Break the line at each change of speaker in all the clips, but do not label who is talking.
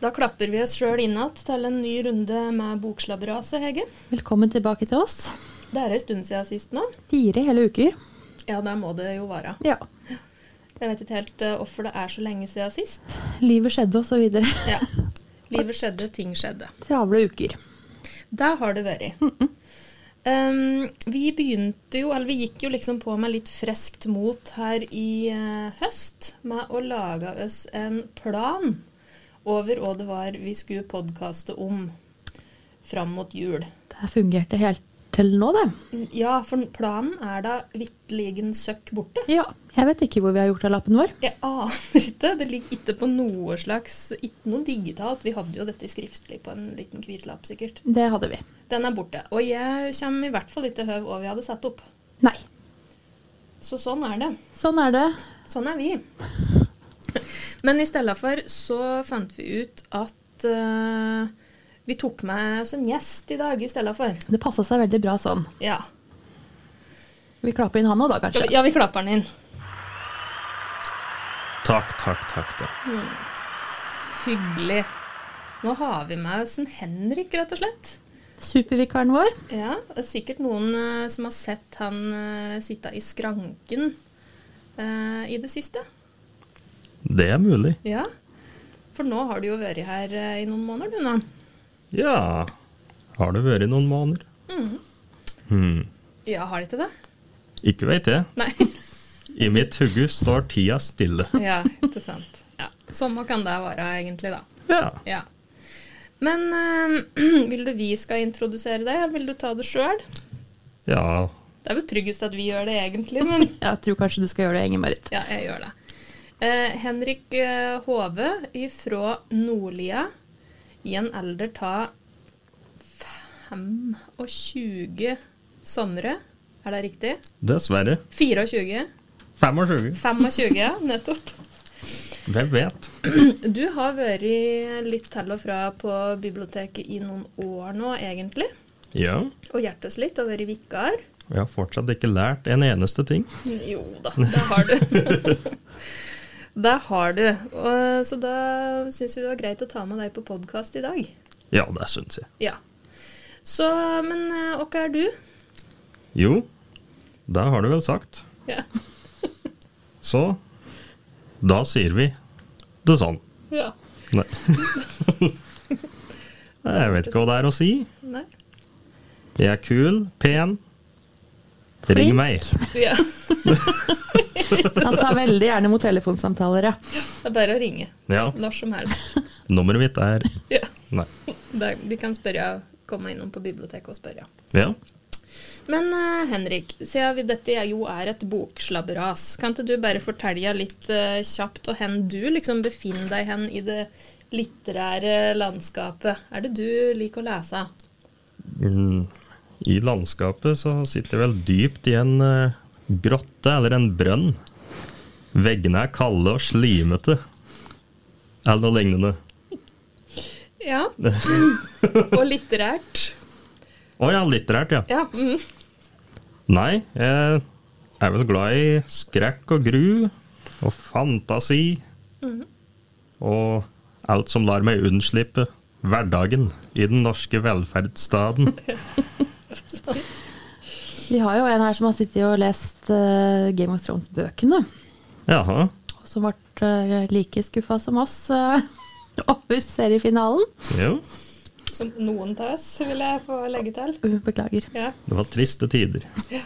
Da klapper vi oss sjøl inn igjen til en ny runde med Bokslabberaset, Hege.
Velkommen tilbake til oss.
Det er ei stund siden sist nå.
Fire hele uker.
Ja, der må det jo være.
Ja.
Jeg vet ikke helt eh, hvorfor det er så lenge siden sist.
Livet skjedde og så videre.
Ja. Livet skjedde, ting skjedde.
Travle uker.
Der har det vært. um, vi begynte jo, eller vi gikk jo liksom på med litt freskt mot her i eh, høst med å lage oss en plan over hva det var vi skulle podkaste om fram mot jul.
Det fungerte helt til nå, det.
Ja, for planen er da vitterlig søkk borte.
Ja. Jeg vet ikke hvor vi har gjort av lappen vår.
Jeg aner ikke. Det ligger ikke på noe slags Ikke noe digitalt. Vi hadde jo dette skriftlig på en liten hvit lapp, sikkert.
Det hadde vi.
Den er borte. Og jeg kommer i hvert fall ikke til høv hva vi hadde satt opp.
Nei.
Så sånn er det.
Sånn er det.
Sånn er vi. Men i stedet for så fant vi ut at eh, vi tok med oss en gjest i dag i stedet for.
Det passa seg veldig bra sånn.
Ja.
Vi klapper inn han òg da,
Skal
kanskje.
vi, ja, vi klapper den inn.
Takk, takk, takk. takk.
Hyggelig. Nå har vi med oss en Henrik, rett og slett.
Supervikaren vår.
Ja, det er sikkert noen eh, som har sett han eh, sitte i skranken eh, i det siste.
Det er mulig.
Ja. For nå har du jo vært her eh, i noen måneder, du nå.
Ja Har det vært noen måneder? Hmm.
Ja, har de ikke det?
Ikke veit jeg.
Nei.
I mitt hugge står tida stille.
Ja, ikke sant. Ja. Samme kan det være, egentlig, da.
Ja.
Ja. Men eh, vil du vi skal introdusere deg, eller vil du ta det sjøl?
ja.
Det er vel tryggest at vi gjør det, egentlig, men
Jeg tror kanskje du skal gjøre det, Inge-Marit.
ja, jeg gjør det. Eh, Henrik eh, Hove ifra Nordlia, i en alder av 25 somre, er det riktig?
Dessverre.
24?
25.
25, ja, nettopp.
Hvem vet?
Du har vært litt til og fra på biblioteket i noen år nå, egentlig.
Ja.
Og hjertes litt, og vært vikar.
Og jeg har fortsatt ikke lært en eneste ting.
Jo da, det har du. det har du. Og, så da syns vi det var greit å ta med deg på podkast i dag.
Ja, det syns jeg.
Ja. Så, men eh, hvem er du?
Jo, det har du vel sagt.
Ja.
Så da sier vi det sånn.
ja.
Nei. Jeg vet ikke hva det er å si.
Nei.
Jeg er kul, pen.
Flink.
Ring meg.
Ja.
Han tar veldig gjerne mot telefonsamtaler, ja.
Det er bare å ringe.
Ja.
Når som helst.
Nummeret mitt er
Ja.
Nei.
Da- De kan spørre, komme innom på biblioteket og spørre.
Ja.
Men eh, Henrik, siden vi, dette er jo er et bokslabberas, kan ikke du bare fortelle litt eh, kjapt og hen du liksom befinner deg hen i det litterære landskapet? Er det du liker å lese?
Mm. I landskapet så sitter jeg vel dypt i en eh, grotte eller en brønn. Veggene er kalde og slimete. Eller noe lignende.
Ja. og litterært?
Å ja, litterært, ja.
Ja. Mm.
Nei, jeg er vel glad i skrekk og gru og fantasi. Og alt som lar meg unnslippe hverdagen i den norske velferdsstaten.
Vi har jo en her som har sittet og lest eh, Game of Thrones-bøkene.
Jaha.
Og som ble eh, like skuffa som oss eh, over seriefinalen.
Jo,
Som noen av oss, vil jeg få legge til.
Uh, Beklager.
Ja.
det var triste tider.
Ja,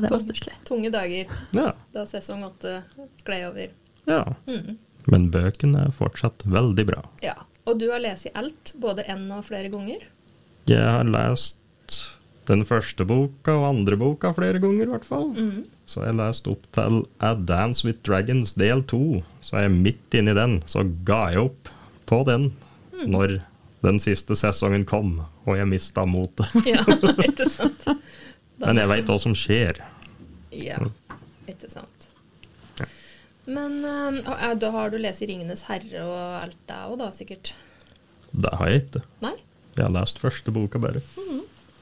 det var stusslig.
Tunge dager
Ja.
da sesong åtte gled over.
ja. Men bøkene er fortsatt veldig bra.
Ja. Og du har lest i alt, både én og flere ganger?
Jeg har lest den første boka og andre boka flere ganger, i hvert fall. Så jeg har lest opp til A Dance With Dragons del to. Så er jeg midt inni den. Så ga jeg opp på den når den siste sesongen kom, og jeg mista motet.
Ja, ikke sant? Da-
Men jeg veit hva som skjer.
Ja, ikke sant. Men eh, og er- da har du lest 'Ringenes herre' og alt det òg, da sikkert?
Det har jeg ikke.
Nei?
Jeg har lest første boka bare.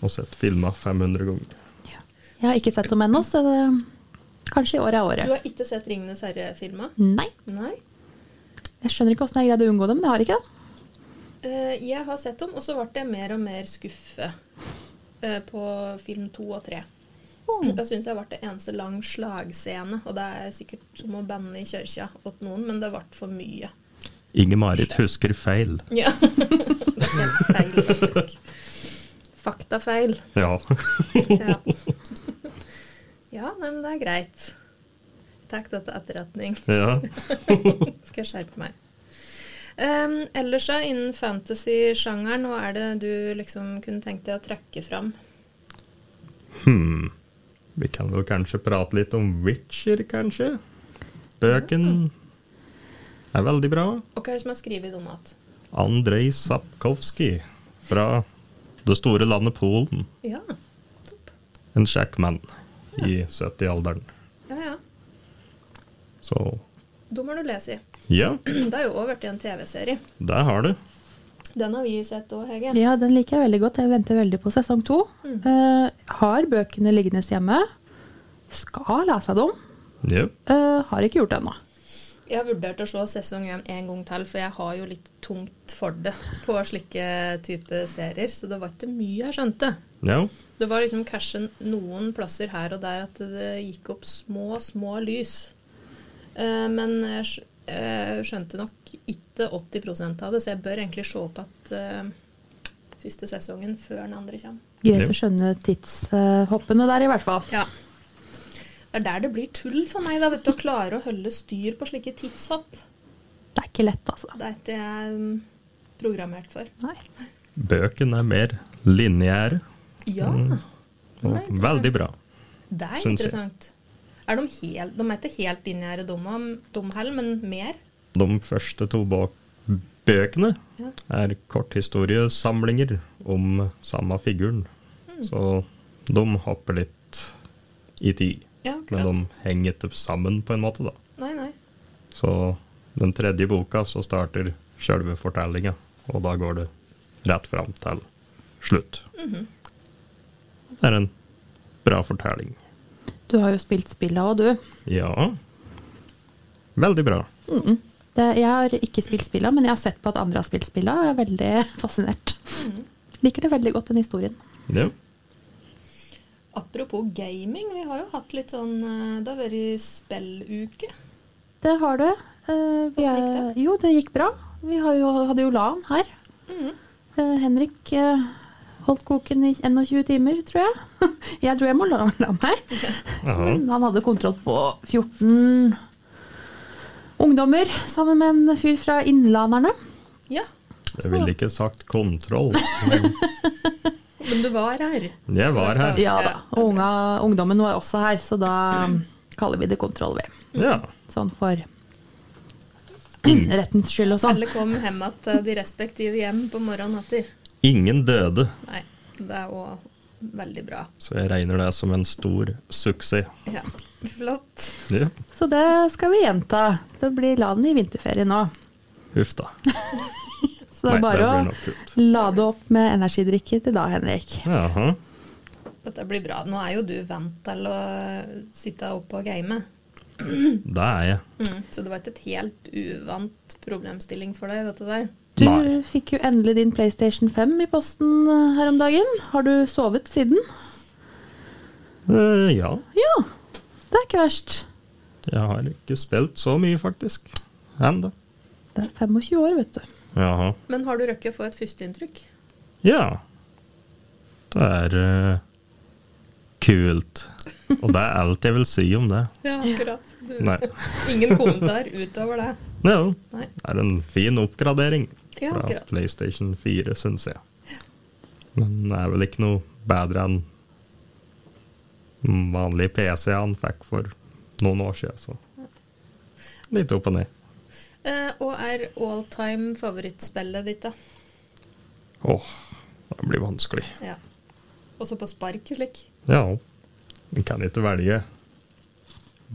Og sett filma 500 ganger.
Jeg har ikke sett dem ennå, så det, kanskje i år er
Du
året.
har ikke sett 'Ringenes herre'-filma?
Nei.
Nei?
Jeg skjønner ikke åssen jeg greide å unngå det, men jeg har ikke det.
Eh, jeg har sett dem, og så ble jeg mer og mer skuffet eh, på film to og tre. Jeg syns jeg ble det eneste lang slagscene, og det er sikkert som å banne i kirka åt noen, men det ble for mye.
Inger-Marit husker feil.
Ja. det er helt feil, faktisk. Faktafeil.
Ja.
Ja. ja, nei, men det er greit. Jeg tar det til etterretning.
ja.
Skal jeg skjerpe meg. Um, ellers da, innen fantasy-sjangeren, hva er det du liksom kunne tenkt deg å trekke fram?
Hmm. Vi kan vel kanskje prate litt om Witcher, kanskje? Bøken er veldig bra.
Og hva er det som er skrevet om igjen?
Andrej Sapkowski fra det store landet Polen.
Ja.
En kjekk mann i 70-alderen.
ja, ja.
Så
De har du lest i.
ja,
Det er jo òg blitt en TV-serie.
der har du.
Den har vi sett òg, Hege.
Ja, den liker jeg veldig godt. Jeg venter veldig på sesong to. Eh, har bøkene liggende hjemme. Skal lese dem.
Jep.
Eh, har ikke gjort det ennå.
Jeg har vurdert å slå sesong én en gang til, for jeg har jo litt tungt for det på slike type serier. Så det var ikke mye jeg skjønte.
Ja.
Det var liksom kanskje noen plasser her og der at det gikk opp små, små lys. Eh, men jeg skj- eh, skjønte nok ikke 80 av det, så jeg bør egentlig se på at eh, første sesongen før den andre kommer.
Greit
Jo.
å skjønne tidshoppene der, i hvert fall.
Ja. Det er der det blir tull for meg, da, vet du, å klare å holde styr på slike tidshopp.
Det er ikke lett, altså.
Det er ikke det jeg er mm, programmert for.
Nei.
Bøken er mer lineære
Ja,
og
Nei, interessant.
veldig bra.
det er
Mm. Syns jeg.
interessant. Er de, helt, de er ikke helt lineære, de de heller, men mer.
De første to bak bøkene
Ja.
er korthistoriesamlinger om samme figuren.
Mm.
Så de hopper litt i tid.
Ja,
Men
akkurat.
de henger ikke sammen på en måte, da.
Nei, nei.
Så den tredje boka så starter selve fortellinga, og da går det rett fram til slutt.
Mhm.
Det er en bra fortelling.
Du har jo spilt spillet òg, du.
Ja. Veldig bra.
Det, jeg har ikke spilt spillet, men jeg har sett på at andre har spilt spillet, og jeg er veldig fascinert. Liker det veldig godt, den historien.
Ja.
Apropos gaming, vi har jo hatt litt sånn eh, Det har vært spelluke.
Det har du. Eh, vi
Hvordan gikk
er- Jo, det gikk bra. Vi har jo, hadde jo LAN her.
Mm.
Eh, Henrik eh, holdt koken i 21 timer, tror jeg. jeg tror jeg må la, la meg.
Mm,
Jaha.
Men han hadde kontroll på 14 ungdommer sammen med en fyr fra Innlanderne.
Ja.
Jeg ville ikke sagt kontroll, men
Men du var her.
jeg var her.
Ja da. Og unga, ungdommen var også her, så da kaller vi det kontroll, vi.
Ja.
Sånn for rettens skyld og sånn.
Alle kom hjem igjen til de respektive hjem på morgenen etter.
Ingen døde,
Nei, det er òg veldig bra.
så jeg regner det som en stor suksess.
Ja. Flott.
Ja.
Så det skal vi gjenta. Det blir LAN i vinterferien nå.
Huff da.
Så det er
Nei,
bare
blir
å
nok kult.
lade opp med energidrikke til da, Henrik.
Jaha.
Dette blir bra. Nå er jo du vant til å sitte oppe og game,
Det er jeg.
mm. så det var ikke et helt uvant problemstilling for deg, dette der.
Du
Nei.
fikk jo endelig din PlayStation 5 i posten eh, her om dagen. Har du sovet siden?
Eh, ja.
Ja, det er ikke verst.
Jeg har ikke spilt så mye, faktisk. Enda.
Det er 25 år, vet du.
Jaha.
Men har du rukket å få et førsteinntrykk?
Ja. Det er eh, kult. Og det er alt jeg vil si om det.
Ja, akkurat. Du,
Nei.
ingen kommentar utover det.
Nei, jo.
Nei.
Det er en fin oppgradering
Ja,
fra
akkurat.
PlayStation 4, syns jeg. Men det er vel ikke noe bedre enn den vanlige PC han fikk for noen år siden, så litt opp og ned.
Eh, og er all time favorittspillet ditt, da?
Åh, det blir vanskelig.
Ja. Også på spark og slik?
Ja. En kan ikke velge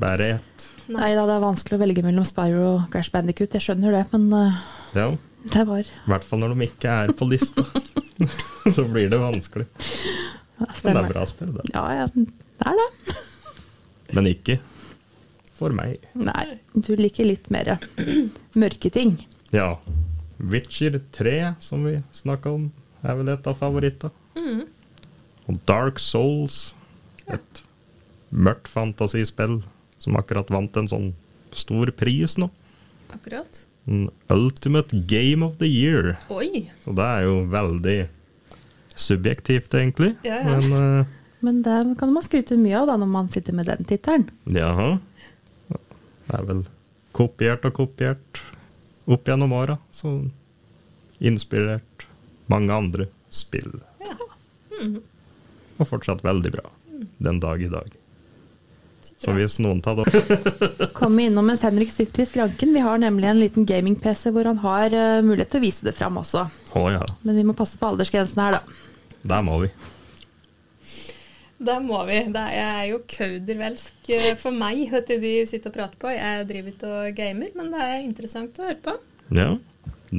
bare ett.
Nei.
Nei da, det er vanskelig å velge mellom Spyro og Crash Bandicoot. Jeg skjønner det, men eh,
Ja.
det var
I hvert fall når de ikke er på lista. Så blir det vanskelig.
ja,
Men det
stemmer.
er bra spill, det.
Ja, ja, det er det.
Men ikke for meg.
Nei, du liker litt mer. mørke ting.
Ja. Witcher 3, som vi snakka om, er vel et av favorittene.
Mm.
Og Dark Souls, et mørkt fantasispill som akkurat vant en sånn stor pris nå.
Akkurat.
En Ultimate Game of the Year.
Oi!
Så det er jo veldig subjektivt, egentlig.
Ja, ja.
Men eh,
Men det kan man skryte mye av da når man sitter med den tittelen.
jaha. Det er vel kopiert og kopiert opp gjennom åra. Så inspirert mange andre spill. Mhm.
Ja, Mm.
Og fortsatt veldig bra den dag i dag.
så
Så
bra.
hvis noen tar det
Komme innom mens Henrik sitter i skranken. Vi har nemlig en liten gaming-PC hvor han har eh, mulighet til å vise det fram også.
Å ja,
Men vi må passe på aldersgrensen her, da.
der må vi.
Der må vi. Det er jeg er jo kaudervelsk eh, for meg, vet du, de sitter og prater på. Jeg driver ikke og gamer, men det er interessant å høre på.
Ja,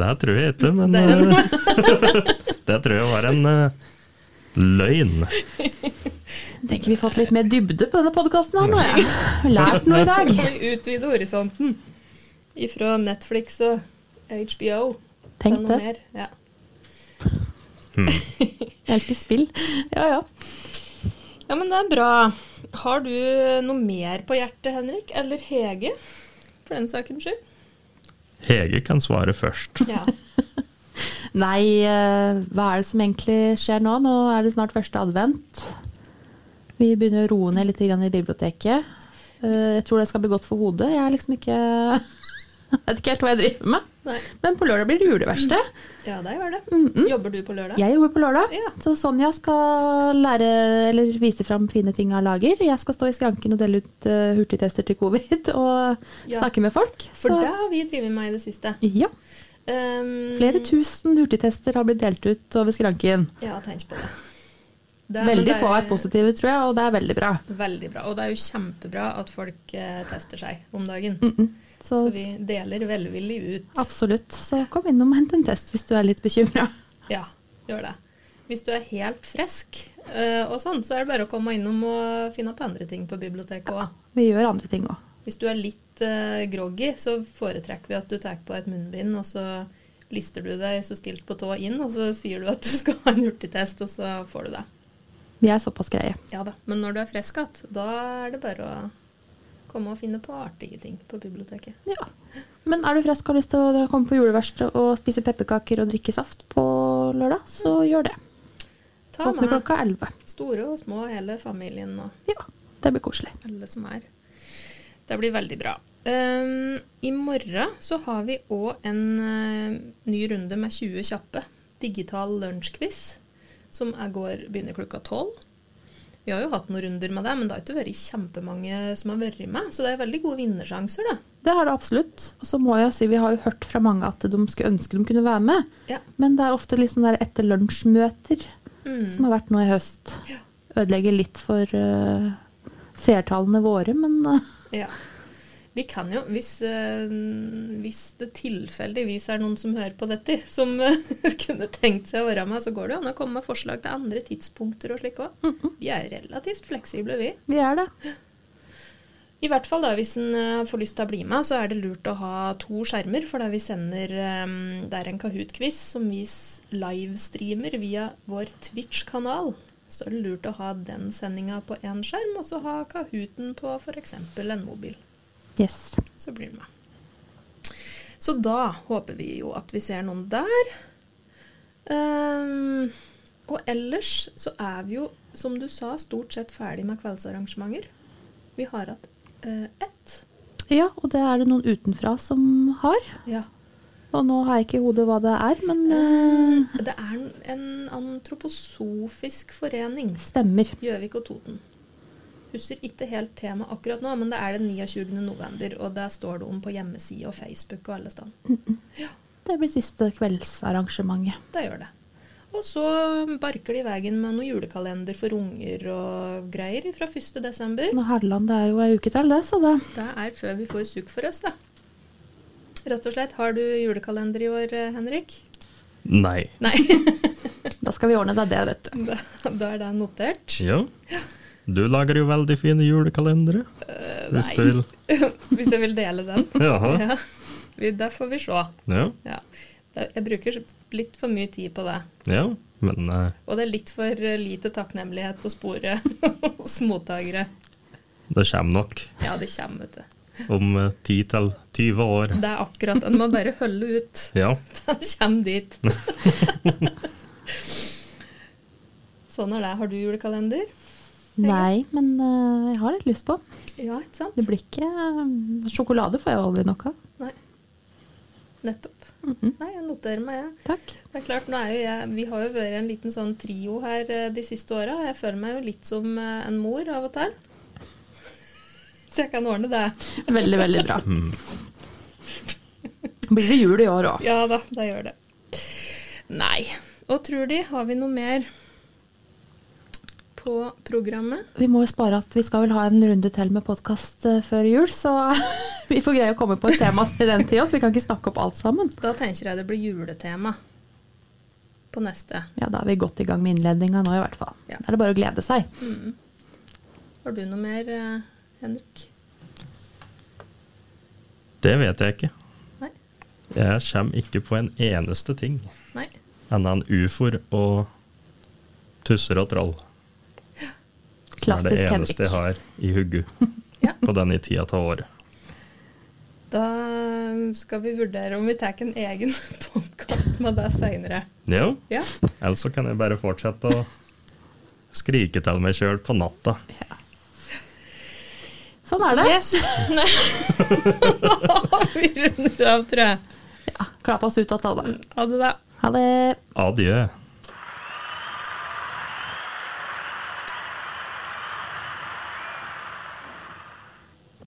det tror jeg ikke, men
Det er en-
Mm.
eh, det tror jeg var en eh, løgn.
Jeg tenker vi har fått litt mer dybde på denne podkasten her nå, jeg. Lært noe i dag.
Kan vi utvide horisonten ifra Netflix og HBO?
Tenk
til noe
det.
mer? Ja.
Jeg elsker spill. Ja, ja.
ja, men det er bra. Har du noe mer på hjertet, Henrik? Eller Hege, for den sakens skyld?
Hege kan svare først.
Ja.
Nei, eh, hva er det som egentlig skjer nå? Nå er det snart første advent. Vi begynner å roe ned litt grann i biblioteket. Eh, Jeg tror det skal bli godt for hodet. Jeg er liksom ikke Jeg vet ikke helt hva jeg driver med.
Nei.
Men på lørdag blir det juleverksted.
Ja, det gjør det.
Mm.
Jobber du på lørdag?
Jeg jobber på lørdag,
Ja.
så Sonja skal lære, eller vise fram fine ting av lager. Jeg skal stå i skranken og dele ut eh, hurtigtester til covid og
Ja.
snakke med folk.
For
Så-
det har vi drevet med i det siste.
ja,
Um,
Flere tusen hurtigtester har blitt delt ut over skranken.
Ja, tenk på det. Det- men
Veldig
det
få har vært positive, tror jeg, og det er veldig bra.
Veldig bra. Og det er jo kjempebra at folk eh, tester seg om dagen.
Mm, Så,
Så vi deler velvillig ut.
absolutt. Så kom innom og hent en test hvis du er litt bekymra.
Ja, gjør det. Hvis du er helt frisk eh, og sånn, så er det bare å komme innom og finne på andre ting på biblioteket òg.
Vi gjør andre ting òg.
Hvis du er litt eh, groggy, så foretrekker vi at du tar på et munnbind, og så lister du deg så stilt på tå inn, og så sier du at du skal ha en hurtigtest, og så får du det.
Vi er såpass greie.
Ja da. Men når du er frisk igjen, da er det bare å komme og finne på artige ting på biblioteket.
Ja. Men er du frisk og har lyst til å dra- komme på juleverksted og spise pepperkaker og drikke saft på lørdag, så gjør det.
Mm. Ta
Åpner
med
klokka 11.
store og små, hele familien og
Ja, det blir koselig.
alle som er. Det blir veldig bra. Ehm, I morgen så har vi òg en eh, ny runde med 20 kjappe. Digital lunsjquiz, som er går, begynner klokka tolv. Vi har jo hatt noen runder med det, men det har ikke vært kjempemange som har vært med. Så det er veldig gode vinnersjanser, da.
Det har det absolutt. Og så må jeg si, vi har jo hørt fra mange at de skulle ønske de kunne være med.
Ja.
Men det er ofte litt sånn der etter lunsj-møter
Mm.
som har vært nå i høst.
Ja.
Ødelegger litt for eh, seertallene våre, men eh,
Ja. Vi kan jo, hvis, eh, hvis det tilfeldigvis er noen som hører på dette, som eh, kunne tenkt seg å være med, så går det jo an å komme med forslag til andre tidspunkter og slik òg. Vi er relativt fleksible, vi.
vi er det.
I hvert fall da, hvis en eh, får lyst til å bli med, så er det lurt å ha to skjermer. For da vi sender eh, Det er en Kahoot-quiz som vi s- livestreamer via vår Twitch-kanal. Så er det lurt å ha den sendinga på én skjerm, og så ha Kahooten på f.eks. en mobil.
Yes.
Så blir det med. Så da håper vi jo at vi ser noen der. Ehm, og ellers så er vi jo, som du sa, stort sett ferdig med kveldsarrangementer. Vi har hatt eh, ett.
Ja, og det er det noen utenfra som har.
Ja.
Og nå har jeg ikke i hodet hva det er, men eh,
Det er en, en antroposofisk forening.
stemmer.
Gjøvik og Toten. Husker ikke helt temaet akkurat nå, men det er den 29. november, og der står det om på hjemmeside og Facebook og alle steder.
Det blir siste kveldsarrangementet.
Det gjør det. Og så barker de i veien med noen julekalender for unger og greier fra 1. desember.
Nå Herland, det er jo ei uke til det, så det
Det er før vi får sukk for oss, da. Rett og slett. Har du julekalender i år, eh, Henrik?
Nei.
Nei.
Da skal vi ordne deg det, vet du.
Da, da er det notert.
Ja. Du lager jo veldig fine julekalendere, hvis du vil.
Hvis jeg vil dele den.
Jaha.
Eh, Ja. Vi- Det får vi se.
Ja,
Ja. Det- Jeg bruker litt for mye tid på det.
ja. men eh,
Og det er litt for eh, lite takknemlighet å spore hos mottakere.
det kommer nok
Ja, det kommer, vet du.
om eh, 10 til 20 år.
Det er akkurat En må bare holde ut.
Ja.
Han kommer dit. sånn er det. Har du julekalender?
Nei, men eh, jeg har litt lyst på.
Ja, ikke sant?
Det blir ikke eh, Sjokolade får jeg jo aldri nok av.
Nei. Nettopp.
Mhm.
Nei, jeg noterer meg, jeg.
Takk.
Det er klart, nå er jo jeg, Vi har jo vært en liten sånn trio her eh, de siste åra, og jeg føler meg jo litt som eh, en mor av og til. Så jeg kan ordne det.
Veldig, veldig bra.
Mm.
Blir det jul i år òg?
Ja da, det gjør det. Nei. Og tror de, har vi noe mer på programmet?
Vi må jo spare at vi skal vel ha en runde til med podkast før jul, så vi får greie å komme på et tema til den tida, så vi kan ikke snakke opp alt sammen.
Da tenker jeg det blir juletema på neste.
Ja, da er vi godt i gang med innledninga nå, i hvert fall.
Ja.
Da er det bare å glede seg.
Mm. Har du noe mer, eh, Henrik?
Det vet jeg ikke.
Nei?
Jeg kommer ikke på en eneste ting
Nei?
annet enn ufoer og tusser og troll.
Klassisk
det er det
Henrik.
eneste jeg har i
Ja.
hugget på denne tida av året.
Da skal vi vurdere om vi tar en egen podkast med deg seinere.
Ja,
Ja.
ellers så kan jeg bare fortsette å skrike til meg sjøl på natta.
Sånn er det.
Yes! Nei. vi runder av, tror jeg.
Ja, Klapp oss ut av alle.
Ha det, da.
Ha det.
Adjø.